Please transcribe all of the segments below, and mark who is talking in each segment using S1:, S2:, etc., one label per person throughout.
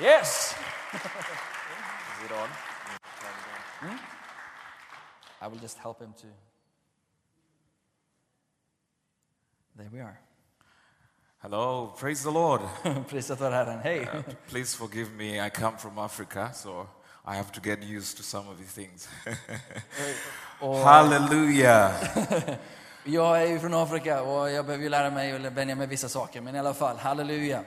S1: Yes.
S2: Is it on?
S1: I will just help him to. There we are.
S2: Hello, praise the Lord.
S1: Prisat vare Herren. Hej.
S2: Please forgive me. I come from Africa, so I have to get used to some of these things. Hallelujah.
S1: Jag är ju från Afrika och jag behöver ju lära mig och vänja mig vissa saker, men i alla fall, halleluja.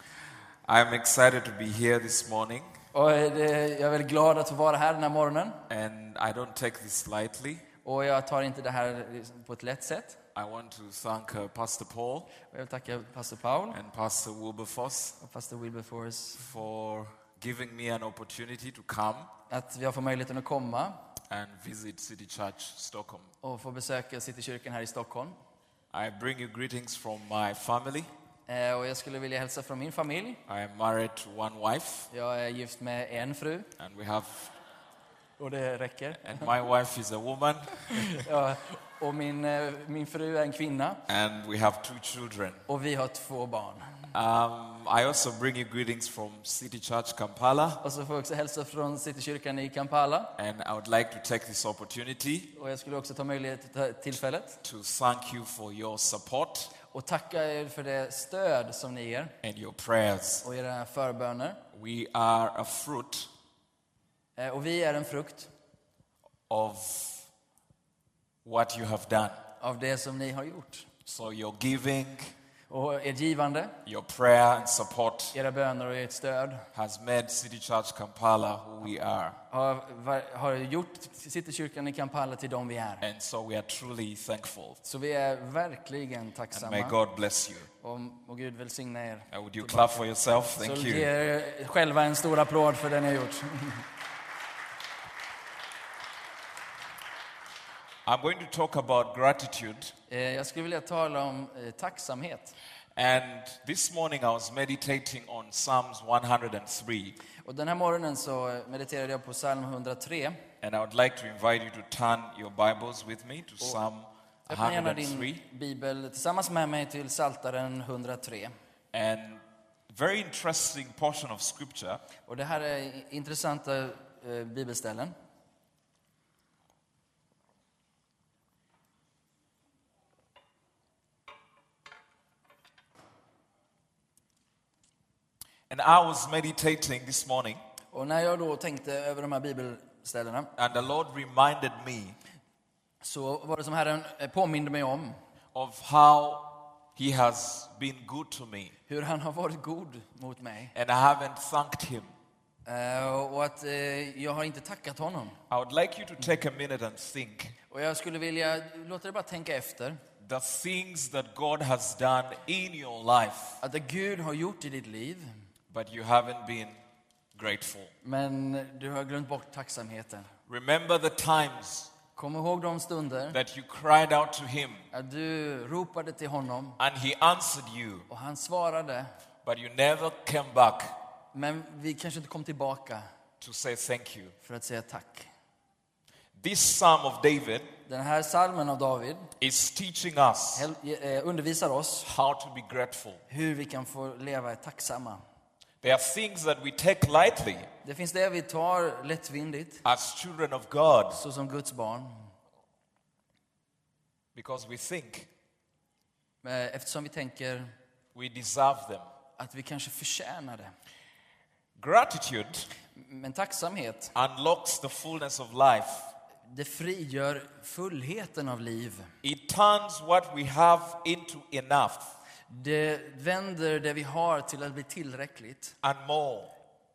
S2: I'm excited to be here this morning,
S1: Och eh, det, jag är väldigt glad att få vara här den här morgonen.
S2: and I don't take this lightly.
S1: Och jag tar inte det här på ett lätt sätt.
S2: I want to thank uh, Pastor Paul
S1: Och jag vill tacka pastor Paul
S2: and Pastor Wilberforce
S1: och pastor Wilberforce
S2: for giving me an opportunity to come
S1: att jag får möjligheten att komma
S2: and visit City Church Stockholm.
S1: och få besöka Citykyrkan här i Stockholm.
S2: I bring you greetings from my family.
S1: Eh, Och jag skulle vilja hälsa från min familj.
S2: I am married to one wife,
S1: Jag är gift med en fru.
S2: and we have,
S1: Och det räcker.
S2: and my wife is a woman,
S1: Ja, och min, eh, min fru är en kvinna
S2: and we have two children.
S1: och vi har två barn.
S2: Um, I also bring you greetings from City Church Kampala,
S1: Och så får jag också hälsa från Citykyrkan i Kampala.
S2: and I would like to take this opportunity
S1: Och jag skulle också ta möjlighet ta tillfället
S2: to thank you for your support
S1: och tacka er för det stöd som ni ger
S2: and your prayers.
S1: och era förböner.
S2: We are a fruit
S1: Eh, Och vi är en frukt
S2: of what you have done.
S1: av det som ni har gjort.
S2: So your giving,
S1: Och ert givande,
S2: your prayer and support
S1: era böner och ert stöd
S2: has made City Church Kampala who we are.
S1: har, var- har gjort Citykyrkan i Kampala till de vi är.
S2: And so we are truly thankful.
S1: Så vi är verkligen
S2: And may
S1: tacksamma.
S2: God bless you.
S1: Och, och Gud välsigna er.
S2: And would you clap for yourself?
S1: Så
S2: Thank
S1: ge
S2: you.
S1: er själva en stor applåd för det ni har gjort.
S2: I'm going to talk about gratitude.
S1: Eh, Jag skulle vilja tala om eh, tacksamhet.
S2: And this morning I was meditating on Psalms 103.
S1: Och den här morgonen så mediterade jag på psalm 103.
S2: And I would like to invite you to turn your Bibles with me to Psalm
S1: Öppna gärna din
S2: 103.
S1: bibel tillsammans med mig till Saltaren 103.
S2: And very interesting portion of scripture.
S1: Och det här är intressanta eh, bibelställen.
S2: And I was meditating this morning,
S1: Och när jag då tänkte över de här bibelställena
S2: and the Lord reminded me
S1: så var det som Herren eh, påminde mig om
S2: of how He has been good to me.
S1: hur han har varit god mot mig.
S2: And I haven't thanked Him.
S1: Eh, Och att eh, jag har inte tackat honom.
S2: I would like you to take a minute and think
S1: Och jag skulle vilja låta dig bara tänka efter.
S2: the things that God has done in your life,
S1: Att det Gud har gjort i ditt liv,
S2: but you haven't been grateful.
S1: men du har glömt bort tacksamheten.
S2: Remember the times
S1: Kom ihåg de stunder
S2: that you cried out to Him
S1: att du ropade till honom
S2: and He answered you,
S1: och han svarade,
S2: but you never came back
S1: men vi kanske inte kom tillbaka
S2: to say thank you.
S1: för att säga tack.
S2: This Psalm of David
S1: Den här salmen av David
S2: is teaching us
S1: hel- eh, undervisar oss
S2: how to be grateful.
S1: hur vi kan få leva tacksamma.
S2: There are things that we take lightly
S1: Det finns det vi tar lättvindigt,
S2: as children of God
S1: såsom Guds barn,
S2: because we think
S1: eh, eftersom vi tänker
S2: we deserve them.
S1: att vi kanske förtjänar det.
S2: Gratitude
S1: Men tacksamhet,
S2: unlocks the fullness of life.
S1: det frigör fullheten av liv.
S2: It turns what we have into enough
S1: Det vänder det vi har till att bli tillräckligt
S2: and more.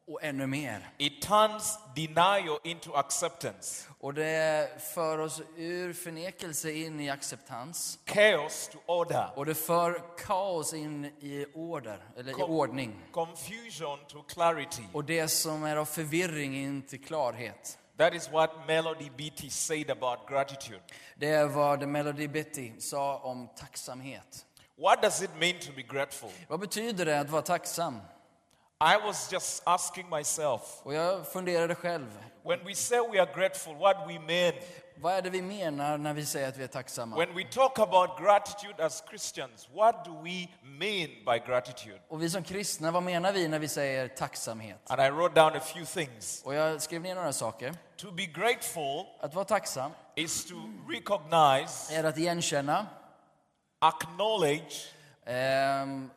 S1: och ännu mer.
S2: It turns denial into acceptance,
S1: Och det för oss ur förnekelse in i acceptans.
S2: chaos to order,
S1: Och det för kaos in i order, eller i
S2: Kom.
S1: ordning.
S2: confusion to clarity.
S1: Och det som är av förvirring in till klarhet.
S2: That is what Melody Beatty said about gratitude.
S1: Det är vad Melody Betty sa om tacksamhet.
S2: What does it mean to be grateful?
S1: Vad betyder det att vara tacksam?
S2: I was just asking myself
S1: Och jag funderade själv.
S2: when we say we are grateful, what we mean.
S1: Vad är det vi menar när vi säger att vi är tacksamma?
S2: When we talk about gratitude as Christians, what do we mean by gratitude?
S1: Och vi som kristna, vad menar vi när vi säger tacksamhet?
S2: And I wrote down a few things.
S1: Och jag skrev ner några saker.
S2: To be grateful
S1: Att vara tacksam
S2: is to recognize,
S1: är att igenkänna,
S2: acknowledge,
S1: ehm,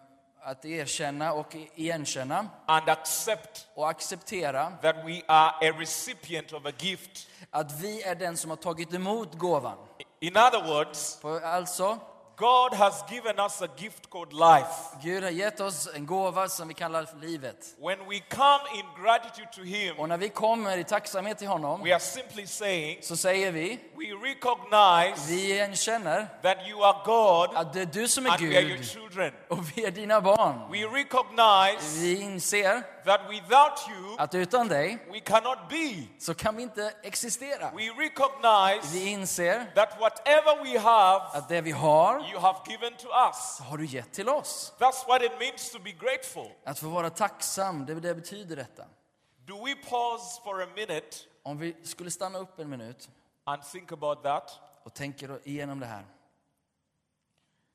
S1: att erkänna och i- igenkänna
S2: and accept
S1: och acceptera
S2: that we are a recipient of a gift.
S1: att vi är den som har tagit emot gåvan.
S2: In other words,
S1: För Alltså,
S2: God has given us a gift called life.
S1: Gud har gett oss en gåva som vi kallar livet.
S2: When we come in gratitude to Him,
S1: Och när vi kommer i tacksamhet till honom
S2: we are simply saying,
S1: så säger vi,
S2: We recognize
S1: vi igenkänner
S2: that you are God
S1: att det är du som är
S2: and we are your
S1: Gud
S2: children.
S1: och vi är dina barn.
S2: We recognize
S1: Vi inser
S2: that without you,
S1: att utan dig
S2: we cannot be.
S1: så kan vi inte existera.
S2: We recognize
S1: Vi inser
S2: that whatever we have,
S1: att det vi har,
S2: you have given to us.
S1: har du gett till oss.
S2: That's what it means to be grateful.
S1: Att få vara tacksam, det, det betyder detta.
S2: Do we pause for a minute
S1: Om vi skulle stanna upp en minut
S2: and think about that?
S1: och tänker igenom det här.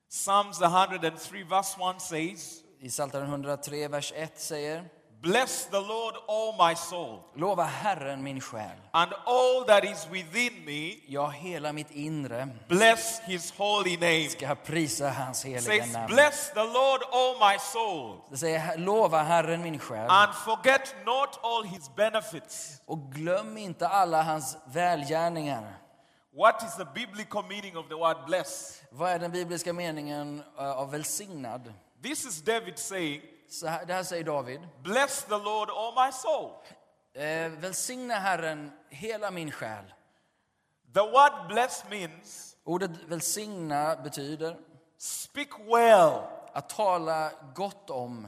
S2: Psalms 103, verse 1 says,
S1: I Psaltaren 103, vers 1 säger
S2: Bless the Lord, all my soul,
S1: Lova Herren min själ,
S2: and all that is within me,
S1: jag hela mitt inre
S2: bless his holy name.
S1: ska prisa hans heliga
S2: says,
S1: namn.
S2: Bless the Lord, O my soul,
S1: Det säger lova Herren min själ
S2: and forget not all his benefits.
S1: och glöm inte alla hans välgärningar.
S2: What is the biblical meaning of the word bless?
S1: Vad är den bibliska meningen eh, av välsignad?
S2: This is David saying,
S1: Så här, det här säger David.
S2: Bless the Lord, O my soul.
S1: Eh, välsigna Herren hela min själ.
S2: The word bless means
S1: Ordet välsigna betyder
S2: speak well,
S1: att tala gott om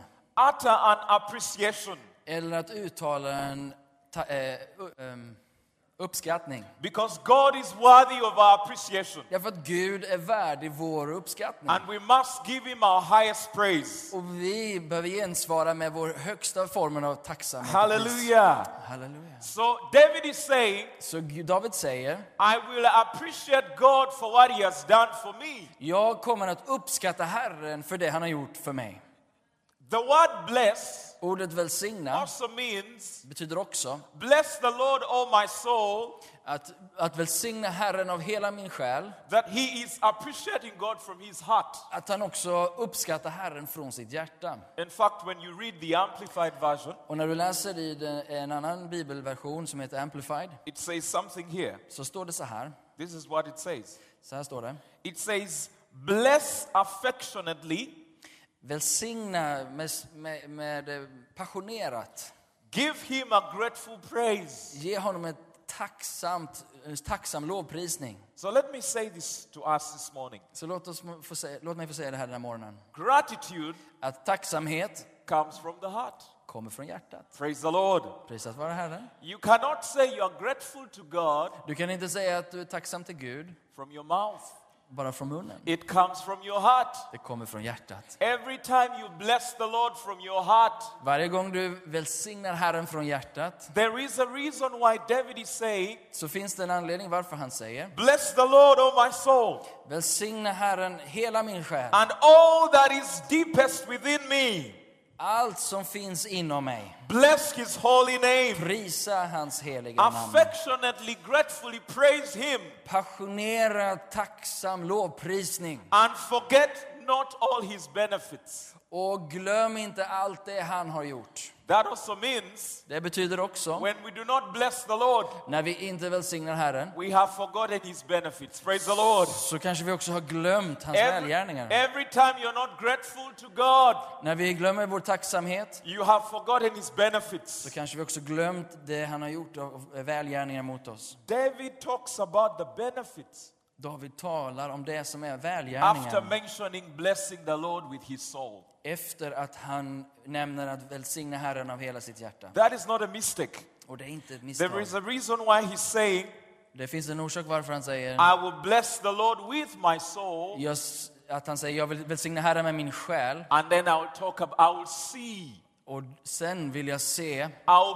S2: utter an appreciation,
S1: eller att uttala en ta, eh, u- ehm, uppskattning.
S2: because God is worthy of our appreciation,
S1: Därför att Gud är värdig vår uppskattning.
S2: and we must give him our highest praise.
S1: Och vi behöver gensvara med vår högsta formen av tacksamhet. och pris.
S2: Hallelujah.
S1: Halleluja.
S2: So David is saying,
S1: Så Gud- David säger,
S2: I will appreciate God for what he has done for me.
S1: jag kommer att uppskatta Herren för det han har gjort för mig.
S2: The word bless
S1: Ordet välsigna
S2: also means
S1: betyder också
S2: bless the Lord, O my soul,
S1: att, att välsigna Herren av hela min själ.
S2: that he is appreciating God from his heart.
S1: Att han också uppskattar Herren från sitt hjärta.
S2: In fact, when you read the Amplified Version,
S1: Och när du läser i den- en annan bibelversion som heter Amplified
S2: it says something here.
S1: så står det så här.
S2: This is what it says
S1: Så här står det.
S2: it says, bless affectionately,
S1: Välsigna med, med, med eh, passionerat.
S2: give him a grateful praise.
S1: Ge honom ett tacksamt, en tacksam lovprisning.
S2: So let me say this to us this morning
S1: Så låt, oss må- få säga, låt mig få säga det här den här morgonen.
S2: gratitude
S1: Att tacksamhet
S2: comes from the heart.
S1: kommer från hjärtat.
S2: Praise the Lord.
S1: Prisat vare Herren.
S2: You cannot say you are grateful to God
S1: Du kan inte säga att du är tacksam till Gud
S2: from your mouth,
S1: bara från munnen.
S2: it comes from your heart.
S1: Det kommer från hjärtat.
S2: Every time you bless the Lord from your heart,
S1: Varje gång du välsignar Herren från hjärtat
S2: there is a reason why David is saying,
S1: så finns det en anledning varför han säger
S2: Bless the Lord, O my soul,
S1: Välsigna Herren hela min själ,
S2: and all that is deepest within me.
S1: allt som finns inom mig.
S2: Bless his holy name.
S1: Prisa hans heliga namn.
S2: Affectionately, gratefully praise him,
S1: Passionerad, tacksam lovprisning.
S2: and forget not all his benefits.
S1: Och glöm inte allt det han har gjort.
S2: That also means
S1: Det betyder också,
S2: when we do not bless the Lord,
S1: när vi inte välsignar Herren,
S2: we have forgotten his benefits. Praise the Lord.
S1: så kanske vi också har glömt hans
S2: Every,
S1: välgärningar.
S2: every time you're not grateful to God,
S1: När vi glömmer vår tacksamhet
S2: you have forgotten his benefits.
S1: så kanske vi också glömt det han har gjort av av välgärningar mot oss.
S2: David talks about the benefits
S1: David talar om det som är
S2: after
S1: välgärningar
S2: mentioning blessing the Lord with his soul.
S1: efter att han nämner att välsigna Herren av hela sitt hjärta.
S2: That is not a mistake.
S1: Och det är inte ett
S2: There
S1: misstag.
S2: is a reason why he's saying,
S1: Det finns en orsak varför han säger
S2: I will bless the Lord with my soul,
S1: jag, s- att han säger jag vill välsigna Herren med min själ
S2: and then I will talk about, I will see,
S1: och sen vill jag se,
S2: I will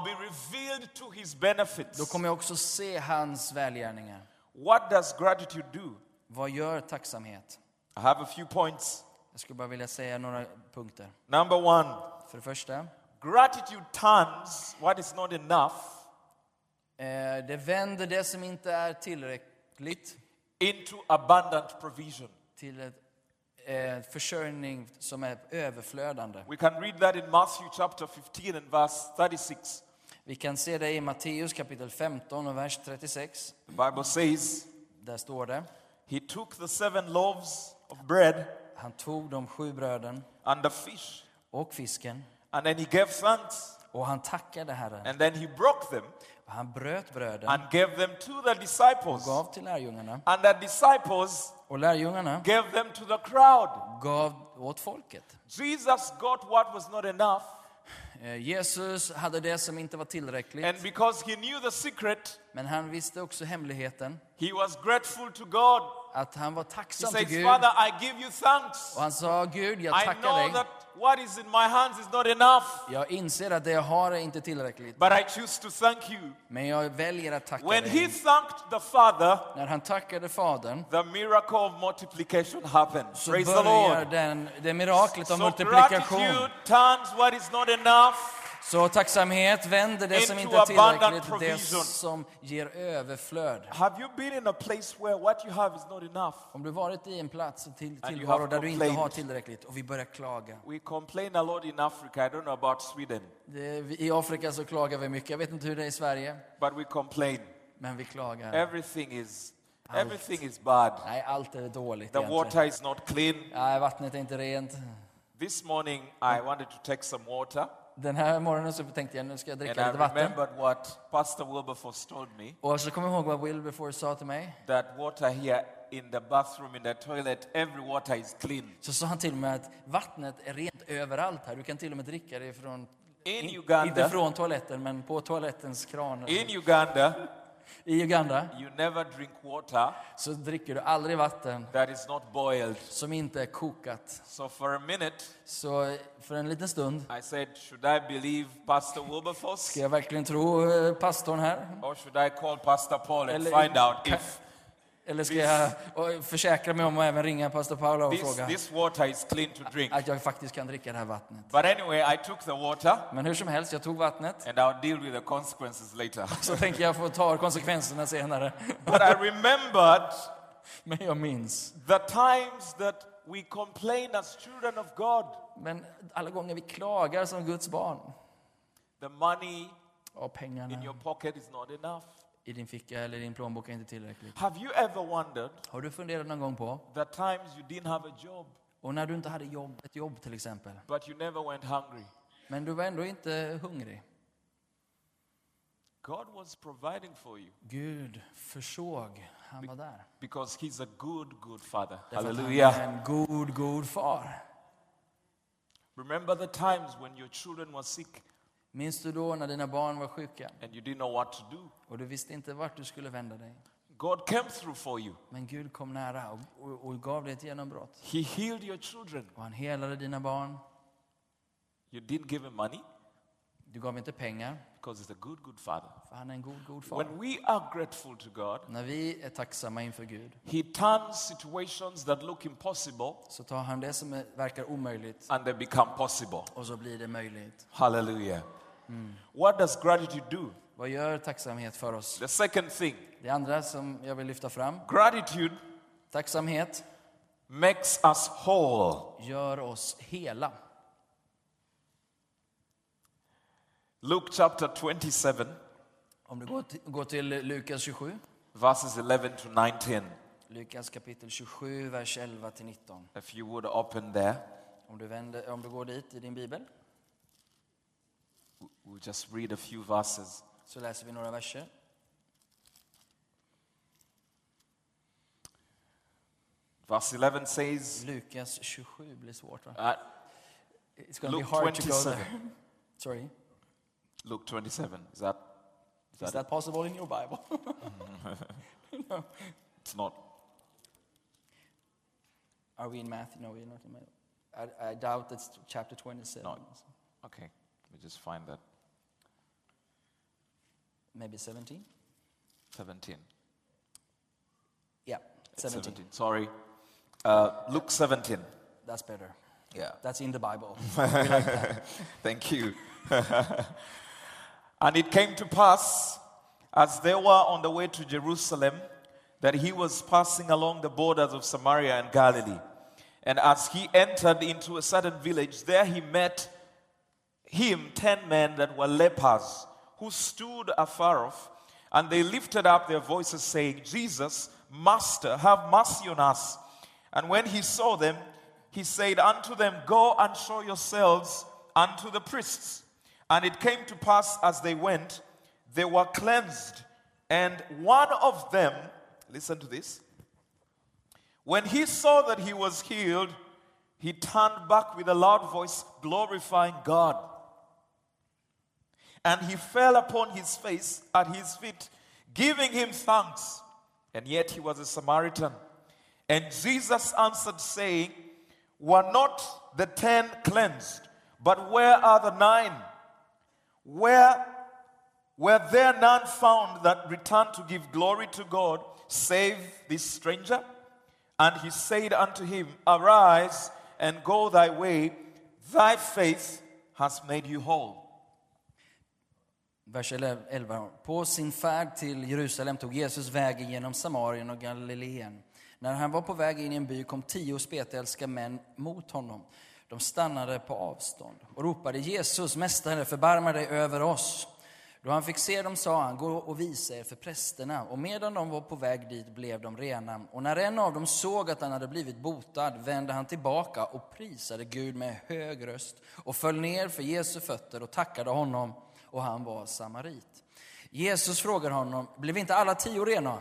S2: be revealed to his benefits.
S1: då kommer jag också se hans välgärningar.
S2: What does gratitude do?
S1: Vad gör tacksamhet?
S2: I have a few points.
S1: Jag skulle bara vilja säga några punkter.
S2: Number one,
S1: För det första, eh,
S2: gratitude turns what is not enough
S1: eh, det vänder det som inte är tillräckligt
S2: into abundant provision.
S1: till ett, eh, försörjning som är överflödande.
S2: We can read that in Matthew chapter 15 and verse 36.
S1: Vi kan se det i Matteus kapitel 15 och vers 36.
S2: The Bible says,
S1: Där står det.
S2: He took the seven loaves of bread
S1: Han tog de sju bröden
S2: and the fish,
S1: och fisken
S2: and then he gave thanks,
S1: och han tackade Herren.
S2: and then he broke them
S1: Och han bröt bröden
S2: and gave them to the disciples.
S1: gav till lärjungarna
S2: And the disciples
S1: och lärjungarna
S2: gave them to the crowd.
S1: gav åt folket.
S2: Jesus got what was not enough,
S1: Eh, Jesus hade det som inte var tillräckligt,
S2: and because he knew the secret,
S1: men han visste också hemligheten.
S2: he was grateful to God.
S1: Att han var
S2: He
S1: tacksam till
S2: says,
S1: Gud
S2: Father, I give you thanks.
S1: och han sa Gud, jag
S2: I
S1: tackar
S2: know
S1: dig.
S2: that what is in my hands is not enough,
S1: Jag inser att det jag har är inte tillräckligt,
S2: but I choose to thank you.
S1: men jag väljer att tacka
S2: When he
S1: dig.
S2: thanked the Father,
S1: När han tackade Fadern
S2: the miracle of multiplication happened.
S1: så
S2: Praise the Lord.
S1: börjar den, det miraklet av
S2: So
S1: multiplikation.
S2: gratitude turns what is not enough
S1: Så tacksamhet vänder det som
S2: Into
S1: inte är
S2: abundant
S1: tillräckligt, det
S2: provision.
S1: som ger överflöd.
S2: Have you been in a place where what you have is not enough?
S1: Om du varit i en plats och till,
S2: you
S1: tillvaro
S2: have
S1: där du inte
S2: complained.
S1: har tillräckligt och vi börjar klaga.
S2: We complain a lot in Africa. I don't know about Sweden,
S1: Det, vi- I Afrika så klagar vi mycket. Jag vet inte hur det är i Sverige,
S2: but we complain.
S1: men vi klagar.
S2: Eh. Everything is everything is bad.
S1: Nej, allt är dåligt
S2: The
S1: egentligen.
S2: water is not clean.
S1: Nej, vattnet är inte rent.
S2: This morning I wanted to take some water
S1: Den här morgonen så tänkte jag nu ska jag
S2: and
S1: dricka
S2: I
S1: lite vatten.
S2: remembered what Pastor Wilberforce told me
S1: Och så kommer jag ihåg vad Wilberforce sa till mig.
S2: that water here in the bathroom in the toilet every water is clean.
S1: Så sa han till mig att vattnet är rent överallt här. Du kan till och med dricka det från...
S2: In
S1: in-
S2: Uganda-
S1: Inte från toaletten, men på toalettens kran.
S2: In Uganda,
S1: I Uganda
S2: you never drink water
S1: så dricker du aldrig vatten
S2: that is not boiled.
S1: som inte är kokat.
S2: So for a minute,
S1: Så för en liten stund
S2: I said, should I believe Pastor Wilberforce
S1: ska jag verkligen tro eh, pastorn här.
S2: or should I call Pastor Paul and
S1: Eller-
S2: find out
S1: Ka-
S2: if
S1: Eller ska jag och försäkra mig om att även ringa pastor Paula och
S2: this,
S1: fråga
S2: this water is clean to drink?
S1: att jag faktiskt kan dricka det här vattnet.
S2: But anyway, I took the water
S1: Men hur som helst, jag tog vattnet.
S2: and I'll deal with the consequences later.
S1: Så tänker jag få ta konsekvenserna senare.
S2: but I remembered
S1: Men jag minns.
S2: the times that we complain as children of God.
S1: Men alla gånger vi klagar som Guds barn.
S2: The money
S1: Och
S2: in your
S1: pengarna
S2: pocket is not enough.
S1: i din ficka eller i din plånbok är inte tillräckligt.
S2: Have you ever wondered
S1: Har du funderat någon gång på?
S2: the times you didn't have a job,
S1: Och när du inte hade jobb, ett jobb till exempel.
S2: but you never went hungry?
S1: Men du var ändå inte hungrig.
S2: God was providing for you.
S1: Gud försåg. Han var där.
S2: Because he's a good, good father.
S1: Därför att Han
S2: Hallelujah.
S1: är en god, god far.
S2: Remember the times when your children were sick
S1: Minns du då när dina barn var sjuka
S2: and you didn't know what to do?
S1: och du visste inte vart du skulle vända dig?
S2: God came through for you.
S1: Men Gud kom nära och, och, och gav dig ett genombrott.
S2: He healed your children.
S1: Och han helade dina barn.
S2: You didn't give him money
S1: Du gav inte pengar,
S2: because he's a good, good father.
S1: för han är en god, god far.
S2: When we are grateful to God,
S1: När vi är tacksamma inför Gud
S2: he turns situations that look impossible
S1: så tar han det som är, verkar omöjligt
S2: and they become possible.
S1: och så blir det möjligt.
S2: Hallelujah.
S1: Hmm.
S2: What does gratitude do?
S1: Vad gör tacksamhet för oss?
S2: The second thing
S1: Det andra som jag vill lyfta fram,
S2: gratitude
S1: tacksamhet
S2: makes us whole.
S1: gör oss hela.
S2: Luke chapter 27,
S1: Om du går till, går till Lukas 27,
S2: verses 11 to 19.
S1: Lukas kapitel 27, vers 11 till 19.
S2: If you would open there,
S1: Om du, vänder, om du går dit i din bibel
S2: we'll just read a few verses.
S1: så läser vi några verser.
S2: Verse 11 says,
S1: Lukas 27 blir svårt va?
S2: uh,
S1: It's gonna
S2: Luke
S1: be hard to go
S2: 27.
S1: there. Sorry.
S2: Luke 27, is that? Is
S1: Is
S2: that
S1: that possible in your Bible?
S2: It's not.
S1: Are we in Matthew? No, we're not in Matthew. I, I doubt that's chapter 27.
S2: No. Okay, let me just find that.
S1: Maybe 17?
S2: 17.
S1: 17.
S2: 17. Sorry. Uh, Luke 17.
S1: That's better.
S2: Yeah.
S1: That's in the Bible.
S2: Thank you. and it came to pass, as they were on the way to Jerusalem, that he was passing along the borders of Samaria and Galilee. And as he entered into a certain village, there he met him ten men that were lepers, who stood afar off, and they lifted up their voices, saying, Jesus, Master, have mercy on us. And when he saw them, he said unto them, Go and show yourselves unto the priests. And it came to pass as they went, they were cleansed. And one of them, listen to this, when he saw that he was healed, he turned back with a loud voice, glorifying God. And he fell upon his face at his feet, giving him thanks. And yet he was a Samaritan. And Jesus answered, saying, Were not the ten cleansed? But where are the nine? Where were there none found that returned to give glory to God, save this stranger? And he said unto him, Arise and go thy way, thy faith has made you whole.
S1: Vers 11. På sin färd till Jerusalem tog Jesus vägen genom Samarien och Galileen. När han var på väg in i en by kom tio spetälska män mot honom. De stannade på avstånd och ropade Jesus, Mästare, förbarma dig över oss. Då han fick se dem sa han, gå och visa er för prästerna. Och medan de var på väg dit blev de rena. Och när en av dem såg att han hade blivit botad vände han tillbaka och prisade Gud med hög röst och föll ner för Jesu fötter och tackade honom och han var samarit. Jesus frågar honom, blev inte alla tio rena?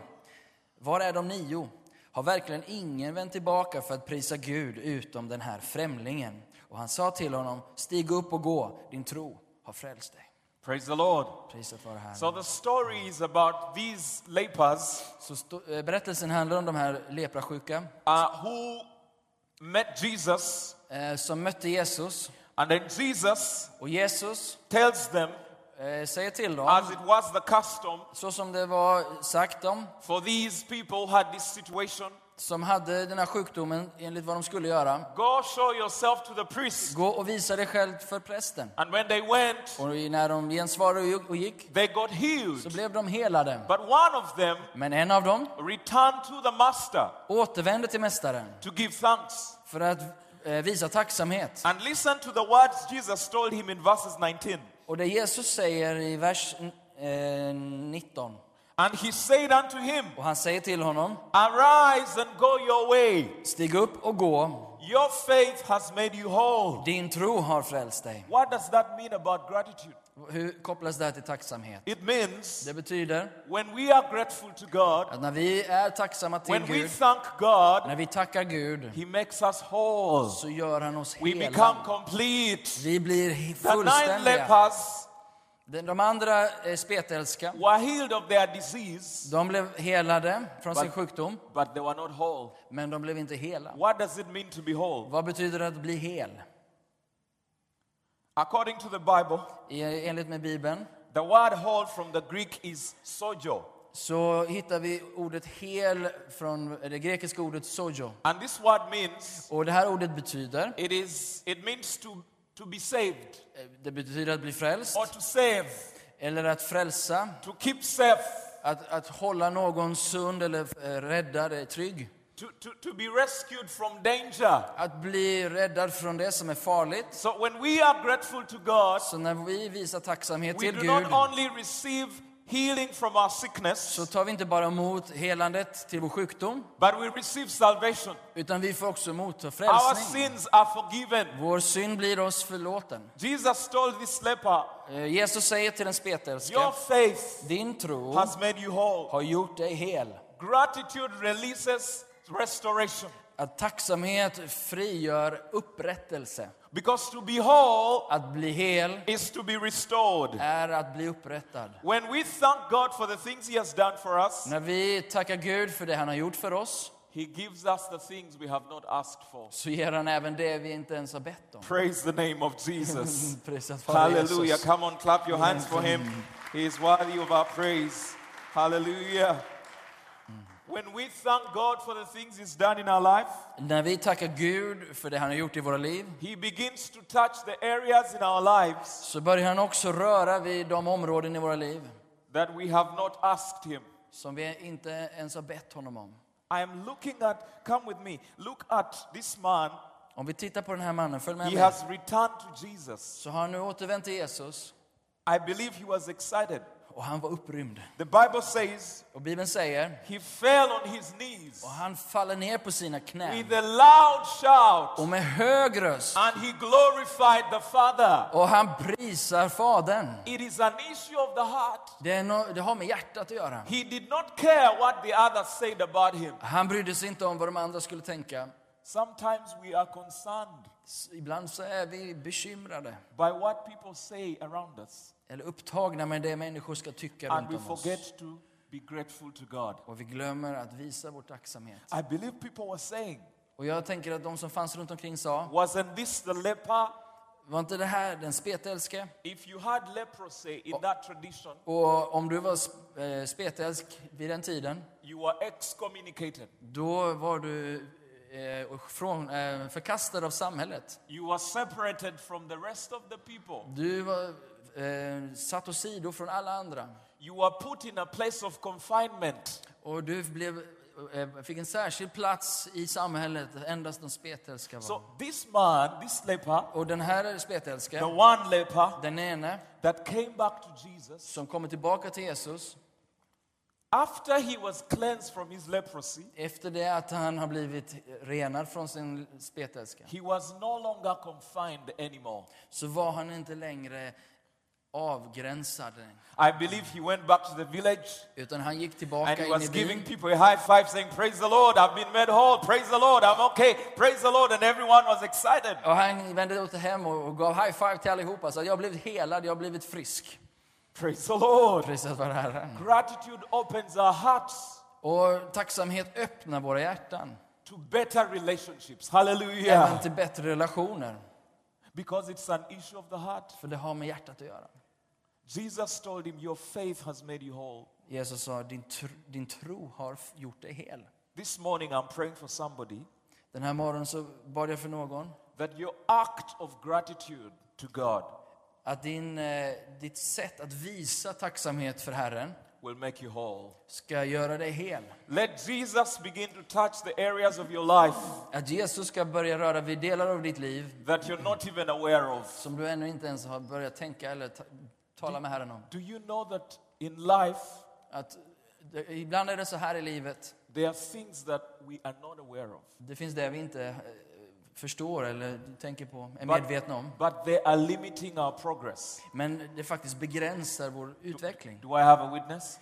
S1: Var är de nio? Har verkligen ingen vänt tillbaka för att prisa Gud utom den här främlingen? Och han sa till honom, stig upp och gå, din tro har frälst dig.
S2: Praise the Lord.
S1: Priset vare Herren.
S2: So the story is about these lepers
S1: Så sto- eh, berättelsen handlar om de här leprasjuka
S2: uh, who met Jesus,
S1: eh, som mötte Jesus.
S2: and then Jesus
S1: Och Jesus
S2: tells them,
S1: eh, säger till dem,
S2: as it was the custom
S1: så som det var sagt dem,
S2: for these people who had this situation,
S1: som hade den här sjukdomen enligt vad de skulle göra.
S2: go show yourself to the priest.
S1: Gå och visa dig själv för prästen.
S2: And when they went,
S1: Och när de gensvarade och gick
S2: they got
S1: så
S2: healed.
S1: blev de helade.
S2: But one of them
S1: Men en av dem
S2: returned to the master
S1: återvände till mästaren
S2: to give thanks.
S1: för att eh, visa tacksamhet.
S2: And listen to the words Jesus told him in verses 19.
S1: Och det Jesus säger i vers eh, 19.
S2: And he said unto him,
S1: Och han säger till honom,
S2: Arise and go your way.
S1: stig upp och gå.
S2: Your faith has made you whole.
S1: Din tro har frälst dig.
S2: What does that mean about gratitude?
S1: Hur kopplas det här till tacksamhet?
S2: It means
S1: Det betyder
S2: when we are grateful to God,
S1: att när vi är tacksamma till
S2: when we
S1: Gud,
S2: thank God,
S1: när vi tackar Gud,
S2: he makes us whole.
S1: så gör han oss
S2: We become
S1: hela.
S2: complete.
S1: Vi blir he-
S2: The nine
S1: fullständiga.
S2: lepers
S1: De de andra eh, spetälska,
S2: were healed of their disease,
S1: de blev helade från sin
S2: But-
S1: sjukdom,
S2: but they were not whole.
S1: men de blev inte hela.
S2: What does it mean to be whole?
S1: Vad betyder det att bli hel?
S2: According to the Bible,
S1: I- Enligt med Bibeln
S2: The word whole from the Greek is sojo.
S1: så hittar vi ordet hel från det grekiska ordet sojo.
S2: And this word means
S1: Och det här ordet betyder,
S2: it is it means to to be saved
S1: eh, det betyder att bli frälst,
S2: or to save,
S1: eller att frälsa,
S2: to keep safe,
S1: Att, att hålla någon sund eller eh, räddad, eh, trygg.
S2: to, to, to be rescued from danger.
S1: Att bli räddad från det som är farligt.
S2: So when we are grateful to God,
S1: Så när vi visar tacksamhet
S2: we
S1: till
S2: do
S1: Gud
S2: not only receive healing from our sickness,
S1: så tar vi inte bara emot helandet till vår sjukdom,
S2: but we receive salvation.
S1: utan vi får också motta
S2: Our
S1: frälsning.
S2: sins are forgiven.
S1: Vår synd blir oss förlåten.
S2: Jesus told this leper,
S1: Eh, Jesus säger till den
S2: Your
S1: spetälske,
S2: faith
S1: din tro
S2: has made you whole.
S1: har gjort dig hel.
S2: Gratitude releases restoration.
S1: Att tacksamhet frigör upprättelse.
S2: Because to be whole
S1: Att bli hel
S2: is to be restored.
S1: är att bli upprättad.
S2: When we thank God for the things He has done for us,
S1: När vi tackar Gud för det han har gjort för oss,
S2: He gives us the things we have not asked for.
S1: så ger han även det vi inte ens har bett om. Mm,
S2: Praise the name of Jesus.
S1: Prisat vare
S2: Hallelujah.
S1: Jesus.
S2: Come on, clap your hands for Him. He is worthy of our praise. Hallelujah. When we thank God for the things He's done in our life,
S1: När vi tackar Gud för det han har gjort i våra liv
S2: He begins to touch the areas in our lives
S1: så börjar han också röra vid de områden i våra liv
S2: that we have not asked Him.
S1: som vi inte ens har bett honom om.
S2: I am looking at, come with me, look at this man.
S1: Om vi tittar på den här mannen, följ med
S2: He
S1: mig,
S2: has returned to Jesus.
S1: så har han nu återvänt till Jesus
S2: I believe he was excited.
S1: och han var upprymd.
S2: The Bible says
S1: Och Bibeln säger,
S2: he fell on his knees
S1: och han faller ner på sina knän
S2: with a loud shout
S1: och med hög röst
S2: and he glorified the Father.
S1: och han prisar Fadern.
S2: It is an issue of the heart.
S1: Det, är no, det har med hjärtat att göra.
S2: He did not care what the others said about him.
S1: Han brydde sig inte om vad de andra skulle tänka.
S2: Sometimes we are concerned
S1: S- Ibland så är vi bekymrade
S2: by what people say around us
S1: eller upptagna med det människor ska tycka
S2: and we
S1: runt om oss.
S2: forget to be grateful to God.
S1: Och vi glömmer att visa vår tacksamhet.
S2: I believe people were saying,
S1: Och jag tänker att de som fanns runt omkring sa,
S2: wasn't this the leper?
S1: var inte det här den spetälske?
S2: If you had leprosy in that tradition,
S1: Och om du var sp- eh, spetälsk vid den tiden,
S2: you were excommunicated.
S1: då var du eh, och från, eh, förkastad av samhället.
S2: You were separated from the rest of the people.
S1: Du var eh, satt åsido från alla andra.
S2: You were put in a place of confinement.
S1: Och du blev, eh, fick en särskild plats i samhället, endast de spetälska var.
S2: So this man, this leper,
S1: Och den här
S2: the
S1: spetälska,
S2: one leper
S1: den ene
S2: that came back to Jesus,
S1: som kommer tillbaka till Jesus,
S2: after he was cleansed from his leprosy,
S1: efter det att han har blivit renad från sin spetälska,
S2: he was no longer confined anymore.
S1: så var han inte längre avgränsad.
S2: I believe he went back to the village
S1: Utan han gick
S2: and
S1: tillbaka
S2: he
S1: in
S2: was
S1: i
S2: giving
S1: byn
S2: people a high five saying, Praise the Lord, I've been made whole. Praise the Lord, I'm okay. Praise the Lord. And everyone was excited.
S1: och han vände åter hem och och gav high five till allihopa. Så jag har blivit helad, jag har blivit frisk.
S2: Praise the Lord.
S1: Prisat vare Herren.
S2: Gratitude opens our hearts
S1: Och tacksamhet öppnar våra hjärtan.
S2: to better relationships.
S1: Även
S2: Hallelujah.
S1: till bättre relationer.
S2: Because it's an issue of the heart.
S1: För det har med hjärtat att göra.
S2: Jesus told him, Your faith has made you whole.
S1: Jesus sa, din, tr din tro har f- gjort dig hel.
S2: This morning, I'm praying for somebody
S1: Den här morgonen så bad jag för någon
S2: that your act of gratitude to God
S1: att din, eh, ditt sätt att visa tacksamhet för Herren
S2: will make you whole.
S1: ska göra dig hel.
S2: Let Jesus begin to touch the areas of your life
S1: Att Jesus ska börja röra vid delar av ditt liv
S2: that you're not even aware of.
S1: som du ännu inte ens har börjat tänka eller ta- tala med Herren om.
S2: Do you know that in life,
S1: Att det, ibland är det så här i livet.
S2: there are things that we are not aware of,
S1: Det finns det vi inte eh, förstår eller tänker på, är
S2: But-
S1: medvetna om.
S2: but they are limiting our progress?
S1: Men det faktiskt begränsar vår utveckling.
S2: Do I have a witness?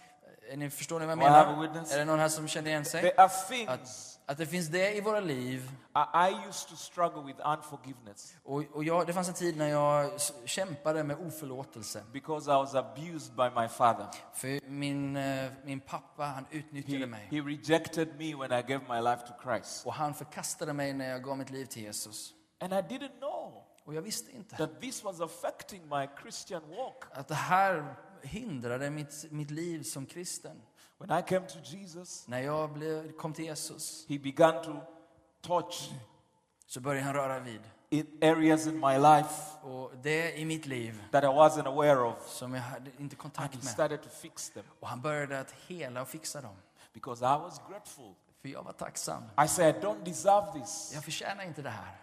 S1: Är ni, förstår ni vad jag
S2: Do I have a
S1: menar?
S2: witness?
S1: Är det någon här som känner igen sig?
S2: There are things
S1: Att det finns det i våra liv.
S2: I, I used to struggle with unforgiveness
S1: Och, och jag, det fanns en tid när jag s- kämpade med oförlåtelse.
S2: because I was abused by my father.
S1: För min, eh, min pappa, han
S2: He,
S1: utnyttjade mig.
S2: he rejected me when I gave my life to Christ.
S1: Och han förkastade mig när jag gav mitt liv till Jesus.
S2: And I didn't know
S1: Och jag visste inte
S2: that this was affecting my Christian walk.
S1: att det här hindrade mitt, mitt liv som kristen.
S2: When I came to Jesus,
S1: När jag blev, kom till Jesus
S2: he began to touch
S1: så började han röra vid.
S2: in areas in my life
S1: Och det i mitt liv
S2: that I wasn't aware of.
S1: som jag hade inte
S2: And he
S1: kontakt med.
S2: started to fix them
S1: Och han började att hela och fixa dem.
S2: because I was grateful.
S1: För jag var tacksam.
S2: I said, I don't deserve this.
S1: Jag förtjänar inte det här.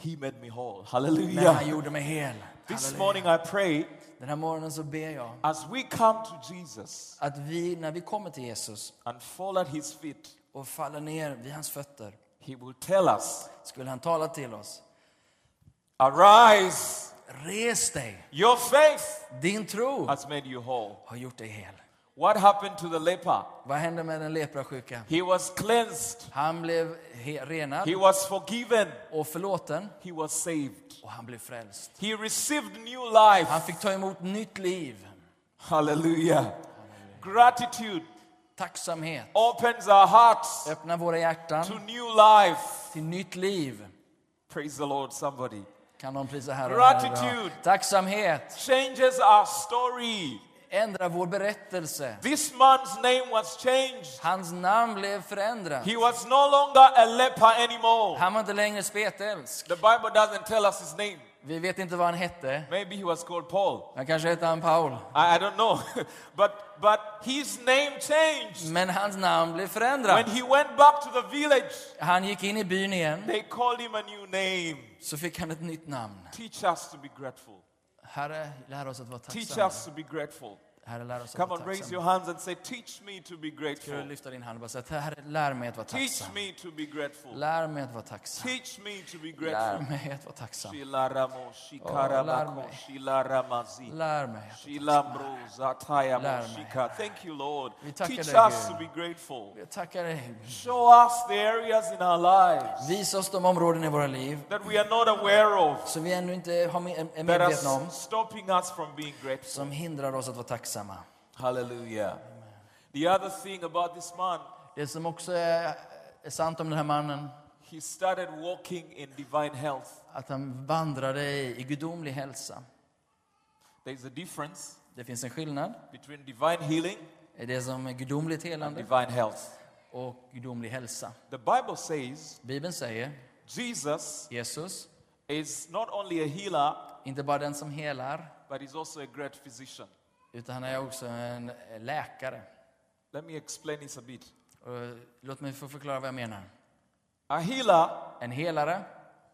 S2: He made me whole.
S1: Men han
S2: Hallelujah.
S1: gjorde mig hel.
S2: This
S1: Halleluja.
S2: morning I pray
S1: Den här morgonen så ber jag
S2: as we come to Jesus.
S1: att vi, när vi kommer till Jesus
S2: and fall at his feet,
S1: och faller ner vid hans fötter,
S2: he will tell us,
S1: skulle han tala till oss.
S2: Arise,
S1: Res dig!
S2: your faith
S1: Din tro
S2: has made you whole.
S1: har gjort dig hel.
S2: What happened to the leper?
S1: Vad hände med den leprasjuka?
S2: He was cleansed,
S1: Han blev he- renad
S2: he was forgiven,
S1: och förlåten
S2: he was saved,
S1: och han blev frälst.
S2: he received new life.
S1: Han fick ta emot nytt liv.
S2: Hallelujah. Gratitude
S1: Tacksamhet
S2: opens our hearts
S1: öppnar våra hjärtan
S2: to new life.
S1: till nytt liv.
S2: Praise the Lord, somebody.
S1: Kan någon prisa Herren? här idag?
S2: Gratitude.
S1: Tacksamhet
S2: Changes our story.
S1: ändra vår berättelse.
S2: This man's name was changed.
S1: Hans namn blev förändrat.
S2: He was no longer a leper anymore.
S1: Han var inte längre spetälsk.
S2: The Bible doesn't tell us his name.
S1: Vi vet inte vad han hette.
S2: Maybe he was called Paul.
S1: Han kanske hette han Paul.
S2: I, I don't know. but, but his name changed.
S1: Men hans namn blev förändrat.
S2: When he went back to the village,
S1: Han gick in i byn igen,
S2: they called him a new name.
S1: så fick han ett nytt namn.
S2: Teach us to be grateful.
S1: Herre, lär oss att vara
S2: Teach
S1: tacksamma.
S2: us to be grateful.
S1: Herre, lär oss att
S2: Come
S1: vara
S2: on, raise your
S1: tacksamma.
S2: hands and say, Teach me to be
S1: Ska du
S2: grateful.
S1: lyfta din hand och bara säga, Herre, lär mig att vara
S2: Teach
S1: tacksam.
S2: me to be grateful.
S1: Lär mig att vara tacksam.
S2: Teach me to be
S1: Lär
S2: grateful.
S1: mig att vara tacksam.
S2: Shilaramo,
S1: larme.
S2: shikarabako, shilaramazi.
S1: Lär mig.
S2: Shilambro, zatayamo,
S1: Larme.
S2: shika. Thank you, Lord.
S1: Vi tackar
S2: Teach
S1: dig,
S2: us to
S1: Gud.
S2: be grateful.
S1: Jag tackar dig.
S2: Show us the areas in our lives
S1: Visa oss de områden i våra liv
S2: that we are not aware of
S1: som vi ännu inte har med, är
S2: that are
S1: medvetna om,
S2: s- stopping us from being grateful.
S1: som hindrar oss att vara tacksamma.
S2: Hallelujah. The other thing about this man,
S1: Det som också är, är sant om den här mannen,
S2: he started walking in divine health.
S1: att han vandrade i, i gudomlig hälsa.
S2: There's a difference
S1: Det finns en skillnad.
S2: between divine healing
S1: Det är det som är gudomligt
S2: and
S1: helande
S2: divine health.
S1: och gudomlig hälsa.
S2: The Bible says
S1: Bibeln säger
S2: Jesus
S1: Jesus,
S2: is not only a healer,
S1: inte bara den som helar,
S2: but he's also a great physician.
S1: utan han är också en läkare.
S2: Let me explain this a bit.
S1: Och låt mig få förklara vad jag menar.
S2: A healer
S1: En helare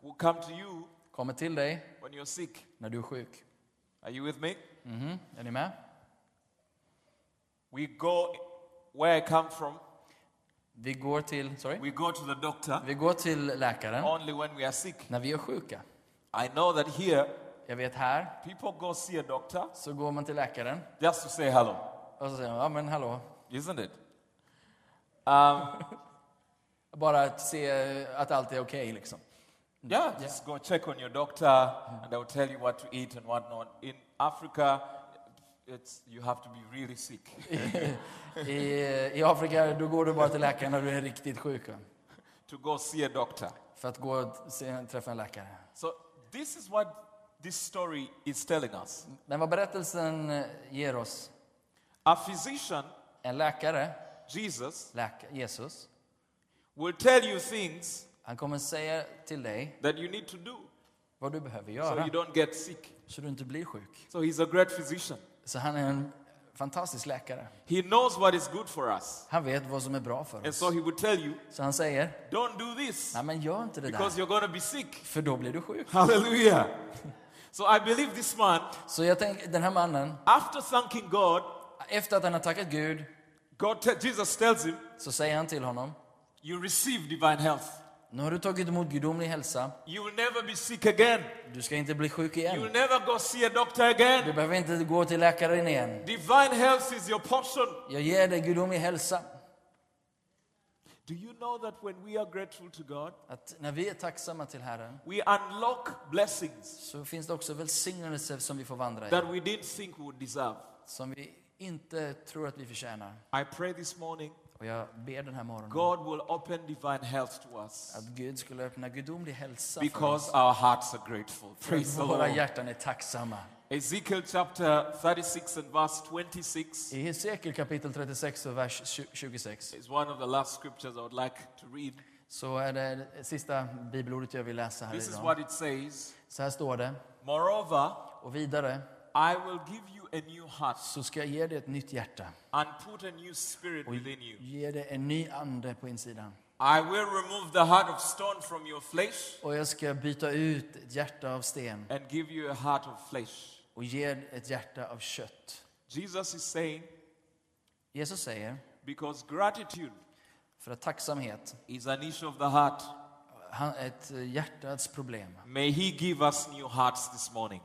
S2: will come to you
S1: kommer till dig
S2: when you're sick.
S1: när du är sjuk.
S2: Are you with me?
S1: Mhm, Är ni med?
S2: We go where I come from,
S1: Vi går till, sorry?
S2: we go to the doctor
S1: Vi går till läkaren
S2: only when we are sick.
S1: när vi är sjuka.
S2: I know that here
S1: Jag vet här
S2: people go see a doctor
S1: så går man till läkaren
S2: just to say hello,
S1: och så säger man, ja men hallå.
S2: isn't it? Um,
S1: Bara att se att allt är okej liksom.
S2: yeah, just go check on your doctor and they'll tell you what to eat and whatnot. In Africa, it's, you have to be really sick.
S1: I, I Afrika då går du bara till läkaren när du är riktigt sjuk. va?
S2: to go see a doctor.
S1: För att gå och se, träffa en läkare.
S2: So, this is what this story is telling us.
S1: Men vad berättelsen eh, ger oss,
S2: A physician,
S1: en läkare,
S2: Jesus,
S1: läka, Jesus,
S2: will tell you things
S1: han kommer säga till dig
S2: that you need to do
S1: vad du behöver
S2: so
S1: göra
S2: you don't get sick.
S1: så du inte blir sjuk.
S2: So, he's a great physician.
S1: Så han är en fantastisk läkare.
S2: He knows what is good for us.
S1: Han vet vad som är bra för
S2: And
S1: oss.
S2: so, he would tell you,
S1: Så han säger,
S2: don't do this
S1: nej men gör inte det där,
S2: because you're going to be sick.
S1: för då blir du sjuk.
S2: Hallelujah. So, I believe this man,
S1: Så jag tänker, den här mannen,
S2: after thanking God,
S1: efter att han har tackat Gud,
S2: God te- Jesus tells him,
S1: så säger han till honom,
S2: You receive divine health.
S1: nu har du tagit emot gudomlig hälsa,
S2: You will never be sick again.
S1: du ska inte bli sjuk
S2: You will
S1: igen.
S2: never go see a doctor again.
S1: Du behöver inte gå till läkaren igen.
S2: Divine health is your portion.
S1: Jag ger dig gudomlig hälsa.
S2: Do you know that when we are grateful to God,
S1: Att när vi är tacksamma till Herren,
S2: we unlock blessings
S1: så finns det också välsignelser som vi får vandra i,
S2: that we didn't think we would deserve?
S1: som vi inte tror att vi förtjänar.
S2: I pray this morning,
S1: Och jag ber den här morgonen
S2: God will open divine health to us
S1: att Gud skulle öppna gudomlig hälsa för oss.
S2: because our hearts are grateful. Praise
S1: För
S2: the
S1: att våra
S2: Lord.
S1: hjärtan är tacksamma.
S2: Ezekiel chapter 36 and verse 26
S1: I Hesekiel kapitel 36 och vers 20 26
S2: is one of the last scriptures I would like to read.
S1: så är det det sista bibelordet jag vill läsa här
S2: This is
S1: idag.
S2: what it says
S1: Så här står det.
S2: Moreover,
S1: Och vidare
S2: I will give you a new heart
S1: så ska jag ge dig ett nytt hjärta
S2: and put a new spirit within you.
S1: ge dig en ny ande på insidan.
S2: I will remove the heart of stone from your flesh
S1: Och jag ska byta ut ett hjärta av sten
S2: and give you a heart of flesh.
S1: och ge ett hjärta av kött.
S2: Jesus is saying,
S1: Jesus säger,
S2: because gratitude
S1: för att tacksamhet,
S2: is an issue of the heart,
S1: han- ett hjärtats problem.
S2: may He give us new hearts this morning.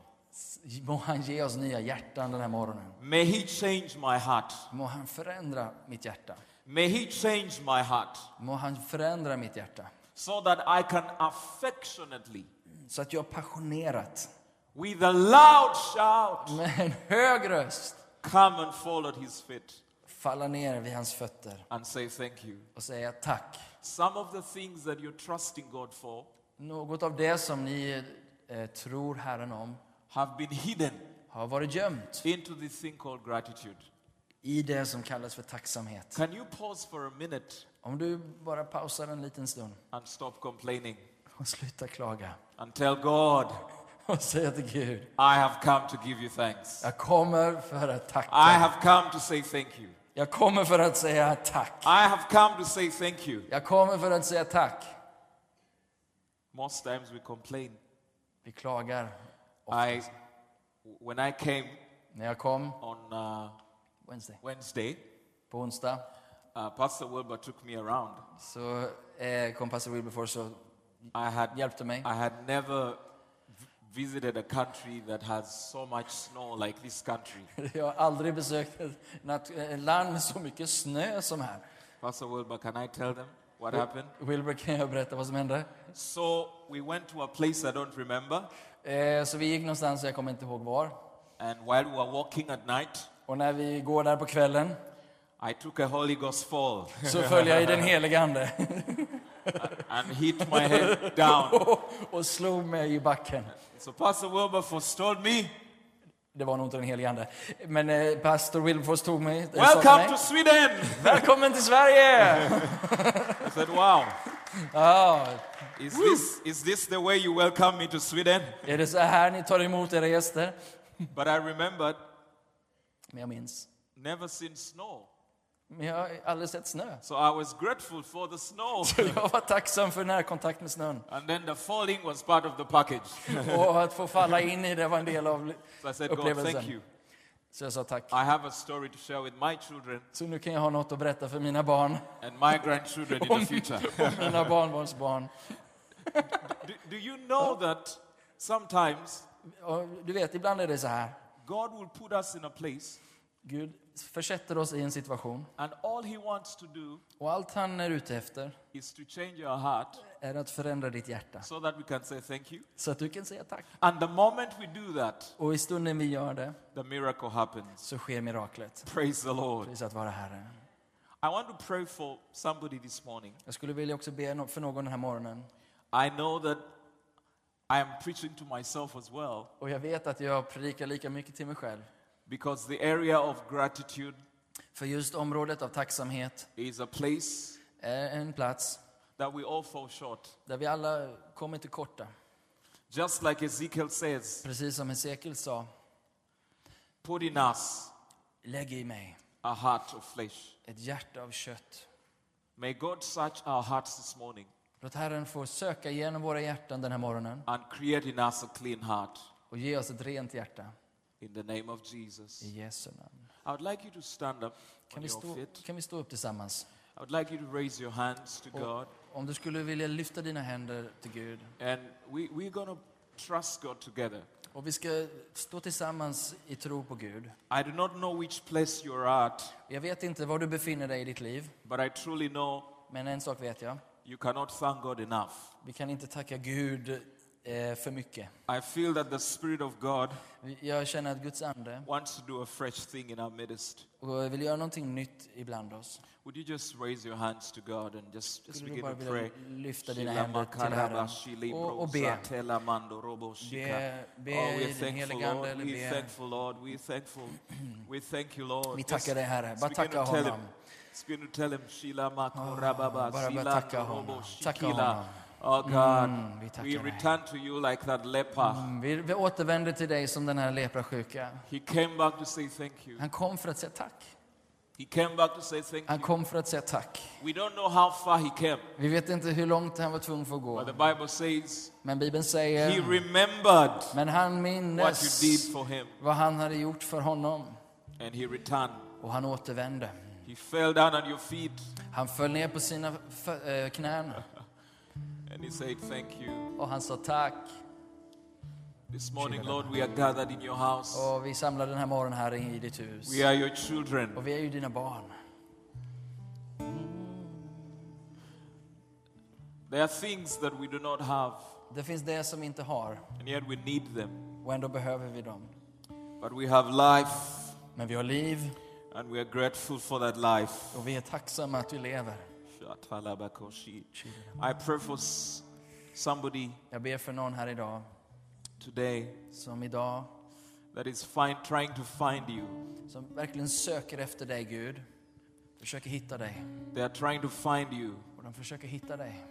S1: Må han ge oss nya hjärtan den här morgonen.
S2: May He change my heart.
S1: Må han förändra mitt hjärta.
S2: May He change my heart
S1: Må han förändra mitt hjärta.
S2: so that I can affectionately,
S1: Så att jag passionerat,
S2: with a loud shout,
S1: med en hög röst,
S2: come and fall at His feet
S1: falla ner vid hans fötter
S2: and say thank you.
S1: och säga tack.
S2: Some of the things that you're trusting God for
S1: Något av det som ni eh, tror Herren om
S2: have been hidden
S1: har har varit gömt
S2: into this thing called gratitude.
S1: i det som kallas för tacksamhet.
S2: Can you pause for a minute
S1: Om du bara pausar en liten stund
S2: and stop complaining
S1: och slutar klaga
S2: and tell God,
S1: och säga till Gud,
S2: I have come to give you thanks.
S1: jag kommer för att
S2: I
S1: tacka.
S2: have come to say thank you.
S1: Jag kommer för att säga tack.
S2: I have come to say thank you.
S1: Jag kommer för att säga tack.
S2: Most times we complain.
S1: Vi klagar.
S2: I, when I came
S1: När jag kom
S2: on uh,
S1: Wednesday,
S2: Wednesday,
S1: på onsdag
S2: uh, Pastor Wilbur took me around.
S1: så eh, kom pastor Wilberforce och
S2: I had,
S1: hjälpte mig.
S2: I had never v- visited a country that has so much snow like this country.
S1: Jag har aldrig besökt ett nat- ett land med så mycket snö som här.
S2: Pastor Wilbur, can I tell them what happened?
S1: Wilbur, kan jag berätta vad som hände?
S2: So we went to a place I don't remember,
S1: Eh, så vi gick någonstans, jag kommer inte ihåg var.
S2: and while we were walking at night,
S1: Och när vi går där på kvällen
S2: I took a Holy Ghost fall
S1: så följer jag i den helige Ande
S2: and hit my head down.
S1: och, och slog mig i backen.
S2: So Pastor Wilbur forestalled me.
S1: Det var nog inte den helige Ande. Men eh, pastor Wilberforce tog mig. eh, sa till
S2: Welcome
S1: mig.
S2: to Sweden!
S1: Välkommen till Sverige!
S2: I said, Wow,
S1: Ja,
S2: is this, is this the way you welcome me to Sweden?
S1: är det så här ni tar emot era gäster?
S2: But I remembered,
S1: Men jag minns.
S2: never seen snow.
S1: Men jag har aldrig sett snö.
S2: So I was grateful for the snow.
S1: Så jag var tacksam för närkontakt med snön.
S2: And then the falling was part of the package.
S1: Och att få falla in i det var en del av
S2: So I said, God, thank
S1: upplevelsen.
S2: you.
S1: Så jag sa tack.
S2: I have a story to share with my children
S1: Så nu kan jag ha något att berätta för mina barn
S2: and my grandchildren in the future.
S1: och mina barnbarnsbarn.
S2: Do, do you know that sometimes
S1: Och du vet, ibland är det så här.
S2: God will put us in a place
S1: Gud försätter oss i en situation
S2: and all He wants to do
S1: och allt han är ute efter
S2: is to change our heart
S1: är att förändra ditt hjärta
S2: so that we can say thank you.
S1: så att du kan säga tack.
S2: And the moment we do that,
S1: Och i stunden vi gör det
S2: the miracle happens.
S1: så sker miraklet.
S2: Praise the Lord.
S1: Pris att vara Herre.
S2: I want to pray for somebody this morning.
S1: Jag skulle vilja också be no- för någon den här morgonen.
S2: I know that I am preaching to myself as well
S1: Och jag vet att jag predikar lika mycket till mig själv.
S2: because the area of gratitude
S1: För just området av tacksamhet
S2: is a place
S1: är en plats
S2: that we all fall short.
S1: där vi alla kommer till korta.
S2: Just like Ezekiel says,
S1: Precis som Hesekiel sa,
S2: put in us
S1: lägg i mig
S2: a heart of flesh.
S1: ett hjärta av kött.
S2: May God search our hearts this morning
S1: Låt Herren få söka igenom våra hjärtan den här morgonen
S2: and create in us a clean heart
S1: och ge oss ett rent hjärta.
S2: in the name of Jesus.
S1: I Jesu namn.
S2: I would like you to stand up
S1: Kan
S2: on
S1: vi,
S2: your
S1: stå,
S2: feet.
S1: kan vi stå upp tillsammans?
S2: I would like you to raise your hands to God.
S1: Om du skulle vilja lyfta dina händer till Gud.
S2: And we, we're going to trust God together.
S1: Och vi ska stå tillsammans i tro på Gud.
S2: I do not know which place you're at,
S1: Jag vet inte var du befinner dig i ditt liv,
S2: but I truly know
S1: men en sak vet jag.
S2: you cannot thank God enough.
S1: Vi kan inte tacka Gud eh, för mycket.
S2: I feel that the Spirit of God
S1: Jag känner att Guds ande
S2: wants to do a fresh thing in our midst.
S1: och vill göra någonting nytt ibland oss.
S2: Would you just raise your hands to God and just, just
S1: Skulle du
S2: begin
S1: bara
S2: to
S1: vilja
S2: pray?
S1: lyfta dina händer till Herren och, och be. Be- be
S2: Oh,
S1: i
S2: we're
S1: den
S2: thankful,
S1: helige Ande
S2: Lord.
S1: eller
S2: We're
S1: be.
S2: thankful, Lord. We're thankful. We thank you, Lord.
S1: Vi
S2: Just-
S1: tackar dig, Herre.
S2: just
S1: Bara
S2: begin to
S1: tacka
S2: tell
S1: honom.
S2: him. Just begin to tell him, Shila Makorababa,
S1: Ah, bara börja
S2: Shila
S1: tacka
S2: Robo
S1: honom. Tacka
S2: Shikila.
S1: honom.
S2: Oh God,
S1: Mm, vi tackar
S2: we
S1: dig.
S2: return to you like that leper.
S1: Vi, vi återvänder till dig som den här leprasjuka.
S2: He came back to say thank you.
S1: Han kom för att säga tack.
S2: He came back to say thank
S1: Han
S2: you.
S1: kom för att säga tack.
S2: We don't know how far he came,
S1: Vi vet inte hur långt han var tvungen för att
S2: but
S1: gå.
S2: the Bible says
S1: Men Bibeln
S2: he
S1: säger,
S2: remembered
S1: men han
S2: what you did
S1: minnes
S2: for him,
S1: vad han hade gjort för honom.
S2: and he returned.
S1: Och han återvände.
S2: He fell down at your feet,
S1: Han föll ner på sina fö- eh, knän
S2: and he said, Thank you.
S1: och han sa tack.
S2: This morning, Lord, we are gathered in your house.
S1: Och vi samlar den här morgonen här i ditt hus.
S2: We are your children.
S1: Och vi är ju dina barn.
S2: There are things that we do not have,
S1: Det finns det som vi inte har
S2: and yet we need them.
S1: och ändå behöver vi dem.
S2: But we have life,
S1: Men vi har liv
S2: and we are grateful for that life.
S1: och vi är tacksamma att vi lever.
S2: Shatalabakoshi. I pray for s- somebody
S1: Jag ber för någon här idag
S2: today
S1: som idag
S2: that is find, trying to find you.
S1: som verkligen söker efter dig Gud, försöker hitta dig.
S2: They are trying to find you.
S1: Och de försöker hitta dig.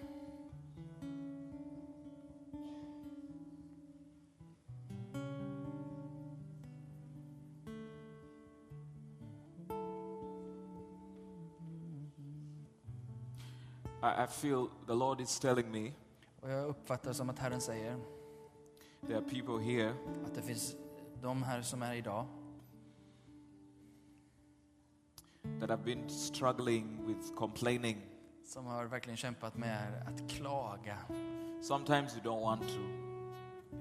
S2: I, I feel the Lord is telling me
S1: Och jag uppfattar som att Herren säger
S2: there are people here
S1: att det finns de här som är idag
S2: that have been struggling with complaining.
S1: som har verkligen kämpat med att klaga.
S2: Sometimes you don't want to,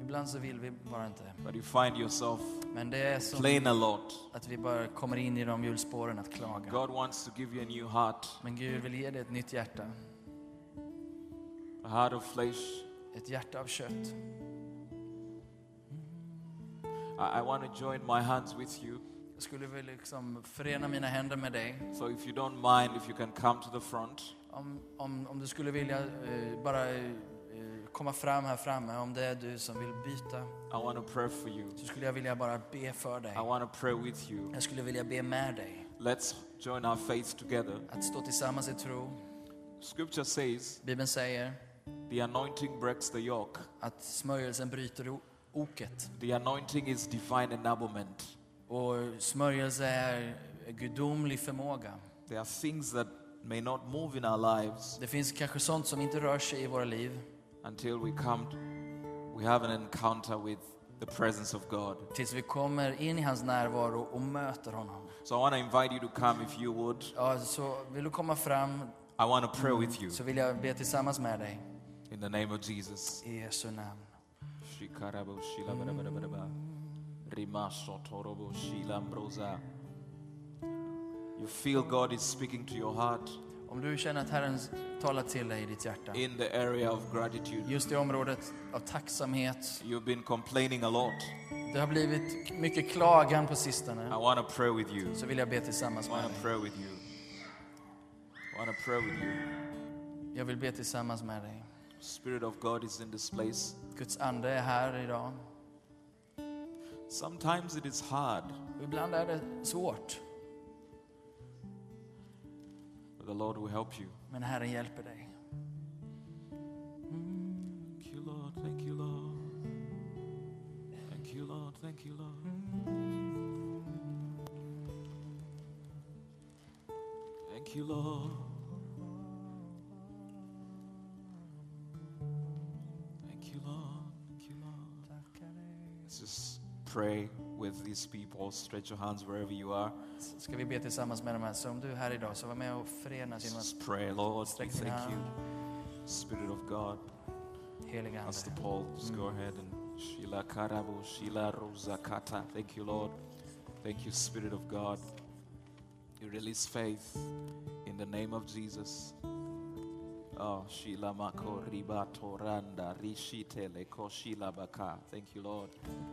S1: Ibland så vill vi bara inte.
S2: but you find yourself
S1: Men det är så
S2: playing a lot.
S1: att vi bara kommer in i de hjulspåren att klaga.
S2: God wants to give you a new heart,
S1: Men Gud vill ge dig ett nytt hjärta.
S2: a heart of flesh.
S1: Ett hjärta av kött.
S2: I, I want to join my hands with you.
S1: Jag skulle vilja liksom förena mina händer med dig.
S2: So if you don't mind, if you can come to the front.
S1: Om, om, om du skulle vilja eh, bara eh, komma fram här framme, om det är du som vill byta,
S2: I want to pray for you.
S1: så skulle jag vilja bara be för dig.
S2: I want to pray with you.
S1: Jag skulle vilja be med dig.
S2: Let's join our faith together.
S1: Att stå tillsammans i tro.
S2: Scripture says
S1: Bibeln säger
S2: the anointing breaks the yoke.
S1: att smörjelsen bryter o- oket.
S2: The anointing is divine enablement.
S1: Och smörjelse är gudomlig förmåga.
S2: There are things that may not move in our lives
S1: Det finns kanske sånt som inte rör sig i våra liv
S2: until we come, we have an encounter with the presence of God.
S1: tills vi kommer in i hans närvaro och möter honom.
S2: So I want to invite you to come if you would.
S1: Ja, så vill du komma fram
S2: I want to pray with you
S1: så vill jag be tillsammans med dig.
S2: in the name of Jesus.
S1: I Jesu namn.
S2: Shikarabo shilabarabarabara. Rimasho torobo shilambrosa. You feel God is speaking to your heart
S1: Om du känner att Herren talar till dig i ditt hjärta.
S2: in the area of gratitude.
S1: Just i området av tacksamhet.
S2: You've been complaining a lot.
S1: Det har blivit mycket klagan på
S2: I
S1: sistone.
S2: want to pray with you.
S1: Så vill jag be tillsammans
S2: I
S1: med
S2: want
S1: dig.
S2: to pray with you. I want to pray with you.
S1: Jag vill be tillsammans med dig.
S2: Spirit of God is in this place.
S1: Guds ande är här idag.
S2: Sometimes it is hard,
S1: Och ibland är det svårt,
S2: but the Lord will help you.
S1: men Herren hjälper dig.
S2: Thank you, Lord. Thank you, Lord. Thank you, Lord. Thank you, Lord. Thank you, Lord. Thank you, Lord. Thank you, Lord. Let's just pray with these people. Stretch your hands wherever you are.
S1: Så ska vi be tillsammans med de här. Så om du är här idag, så var med och förenas
S2: Let's
S1: genom att
S2: just pray, Lord. We
S1: sträck din
S2: thank you.
S1: hand,
S2: Spirit of God.
S1: heliga Ande.
S2: Pastor Paul, just go ahead and Sheila Karabu, Sheila Rosakata. Thank you, Lord. Thank you, Spirit of God. You release faith in the name of Jesus. Oh, Sheila Mako Riba Toranda Rishitele Koshila Baka. Thank you, Lord.